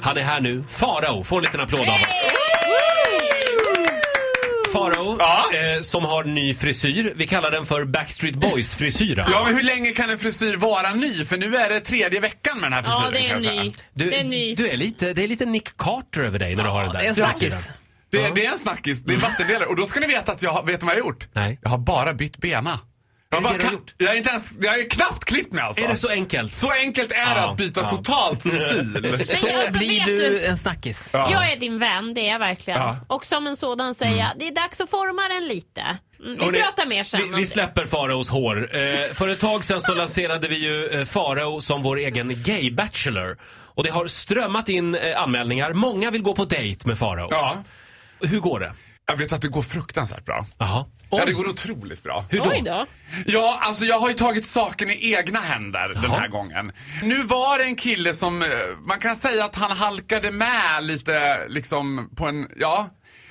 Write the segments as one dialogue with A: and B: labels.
A: Han är här nu. Farao, få en liten applåd av oss. Farao,
B: Ja?
A: eh, som har ny frisyr. Vi kallar den för Backstreet Boys-frisyren.
B: Ja, men hur länge kan en frisyr vara ny? För nu är det tredje veckan med den här frisyren.
C: Ja, det
B: kan
C: är
B: jag säga.
C: ny.
A: Du,
C: det är ny.
A: du är lite, det är lite Nick Carter över dig när du har den där.
D: det är en
A: frisyren.
D: snackis.
B: Det, det är en snackis, det är vattendelare. Och då ska ni veta att jag har, vet ni vad jag har gjort?
A: Nej.
B: Jag har bara bytt bena. Jag
A: Är
B: har,
A: det det
B: bara,
A: du har
B: ka-
A: gjort?
B: jag har inte ens, jag har ju knappt klippt mig alltså.
A: Är det så enkelt?
B: Så enkelt är det
A: Ja,
B: att byta
A: ja.
B: totalt stil.
D: Så
C: alltså,
D: blir
C: vet
D: du
C: du-
D: en snackis.
B: Ja.
C: Jag är din vän, det är jag verkligen.
B: Ja.
C: Och som en sådan säger jag, det är dags att forma den lite. Mm, Vi
A: Hörrni,
C: pratar mer sen.
A: Vi, vi släpper Faraos hår. Eh, för ett tag sedan så lanserade vi ju eh, Farao som vår egen gay-bachelor. Och det har strömmat in eh, anmälningar. Många vill gå på dejt med Farao.
B: Ja.
A: Hur går det?
B: Jag vet att det går fruktansvärt bra.
A: Jaha.
B: Ja, det går otroligt bra.
A: Hur då?
C: Oj då.
B: Ja, alltså jag har ju tagit saken i egna händer den
A: Jaha.
B: här gången. Nu var det en kille som, eh, man kan säga att han halkade med lite liksom på en, ja.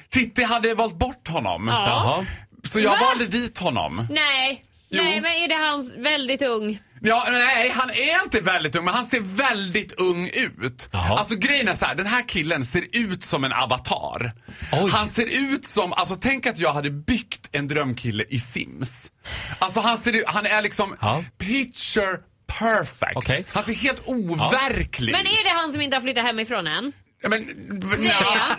B: Titti hade valt bort honom.
A: Jaha.
B: Så jag
C: Va?
B: valde dit honom.
C: Nej.
B: Jo.
C: Nej, men är det hans väldigt ung?
B: Ja, nej, han är inte väldigt ung, men han ser väldigt ung ut.
A: Jaha.
B: Alltså grejen är så här, den här killen ser ut som en avatar.
A: Oj.
B: Han ser ut som, alltså tänk att jag hade byggt en drömkille i Sims. Alltså han ser ut, han är liksom
A: Ja.
B: picture perfect.
A: Okej.
B: Han ser helt overklig
C: Men är
B: ut.
C: det han som inte har flyttat hemifrån än?
B: Ja, men,
C: Det är det.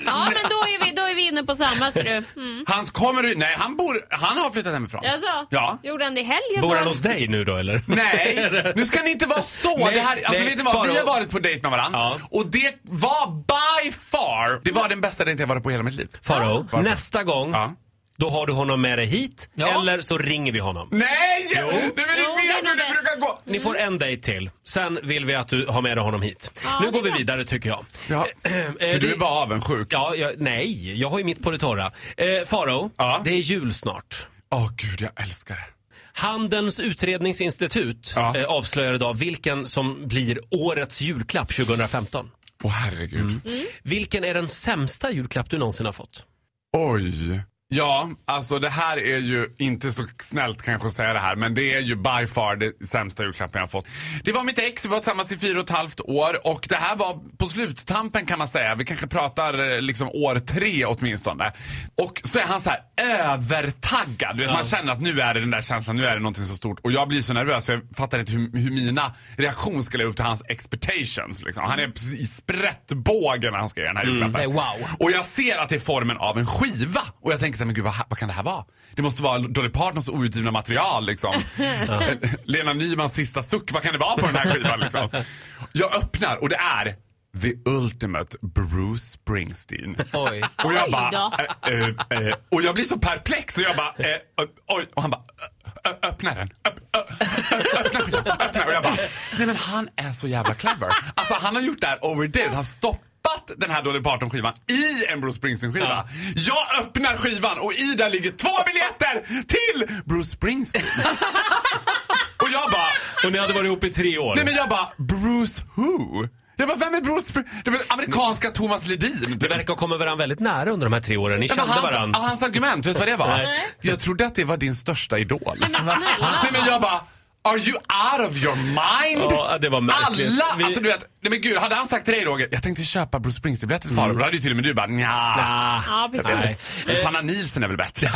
C: Ja, men då är vi, då är vi inne på samma ser du. Mm.
B: Hans kommer nej han bor, han har flyttat hemifrån.
C: Alltså,
B: Ja.
C: Gjorde han det i helgen?
A: Bor
C: Var
A: han hos dig nu då eller?
B: Nej, nu ska ni inte vara så.
A: Nej,
B: det här, alltså,
A: nej,
B: vet ni vad? Vi
A: Faro.
B: har varit på dejt med varandra
A: Ja.
B: och det var by far, det var den bästa dejten jag varit på i hela mitt liv.
A: Farao,
B: Ja.
A: nästa gång
B: Ja.
A: då har du honom med dig hit
D: Ja.
A: eller så ringer vi honom.
B: Nej! Nej men ni
C: Jo,
B: vet
C: den är
B: hur det
C: bäst.
B: brukar gå.
A: Ni får en dejt till. Sen vill vi att du har med dig honom hit.
C: Ja,
A: nu
C: det
A: går
C: är
A: vi
C: bra.
A: vidare tycker jag. Eh,
B: Ja. För du är bara avundsjuk.
A: Ja, jag, nej, jag har ju mitt på det torra. Eh, Farao,
B: Ja.
A: det är jul snart.
B: Åh gud, jag älskar det.
A: Handelns utredningsinstitut
B: Ja.
A: eh, avslöjar idag vilken som blir årets julklapp 2015.
B: Åh herregud.
A: Mm. Vilken är den sämsta julklapp du någonsin har fått?
B: Oj. Ja, alltså det här är ju inte så snällt kanske att säga det här, men det är ju by far det sämsta julklappen jag har fått. Det var mitt ex, vi var tillsammans i fyra och ett halvt år och det här var på sluttampen kan man säga. Vi kanske pratar eh, liksom år tre åtminstone. Och så är han så här övertaggad. Du vet, Man känner att nu är det den där känslan, nu är det någonting så stort. Och jag blir så nervös för jag fattar inte hur, hur mina reaktioner ska leva upp till hans expectations. Liksom. Han är precis i sprättbågen när han ska ge den här julklappen.
D: Nej, wow.
B: Och jag ser att det är formen av en skiva. Och jag tänker så här, men gud vad, vad kan det här vara? Det måste vara Dolly Partons outgivna material liksom. Lena Nymans sista suck, vad kan det vara på den här skivan liksom? Jag öppnar och det är The Ultimate Bruce Springsteen.
D: Oj.
B: Och jag
C: Oj
B: bara,
C: då.
B: eh, eh, eh, och jag blir så perplex och jag bara, eh, ö- oj, och han bara, ö- ö- öppna den. Öpp- ö- ö- Öppna skivan, öppna. Och jag bara, nej men han är så jävla clever. Alltså han har gjort det här overdid, han stoppat den här Dolly Parton-skivan i en Bruce Springsteen-skiva. Jag öppnar skivan och i den ligger två biljetter till Bruce Springsteen. och jag bara,
A: Och ni hade varit ihop i tre år.
B: Nej men jag bara, Bruce who? Jag bara, vem är Bruce Spr- Det var amerikanska Thomas Ledin.
A: Det verkar ha kommit varandra väldigt nära under de här tre åren. Ni
B: Ja, men
A: kände
B: hans,
A: varandra.
B: hans argument, vet du vad det var?
A: Nej.
B: Jag trodde att det var din största idol.
C: Men snälla.
B: Nej men jag bara, are you out of your mind?
A: Ja, det var märkligt.
B: Alla,
A: Vi-
B: alltså du vet, nej men gud, hade han sagt till dig Roger, jag tänkte köpa Bruce Springsteen-biljetter till Farao, då hade ju till och med du bara, nja.
A: Ah.
C: Ja,
A: Mm. Nej.
C: precis.
B: Men Sanna Nielsen är väl bättre?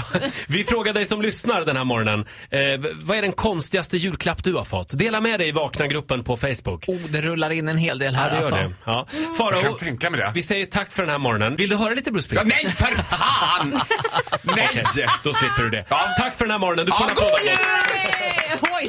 A: Vi frågar dig som lyssnar den här morgonen. Eh, v- vad är den konstigaste julklapp du har fått? Dela med dig i Vakna-gruppen på Facebook.
D: Oh, det rullar in en hel del
A: Ja,
D: här
A: det gör
D: alltså.
A: det. Ja.
B: Jag kan
A: Farao,
B: tänka mig det.
A: vi säger tack för den här morgonen. Vill du höra lite Bruce
B: Ja,
A: Springsteen?
B: nej för fan! nej!
A: Okej, då slipper du det.
B: Ja.
A: Tack för den här morgonen. Du får
B: Ja,
A: en
B: god
A: applåd av
B: jul!
A: oss.
C: Eh, Oj.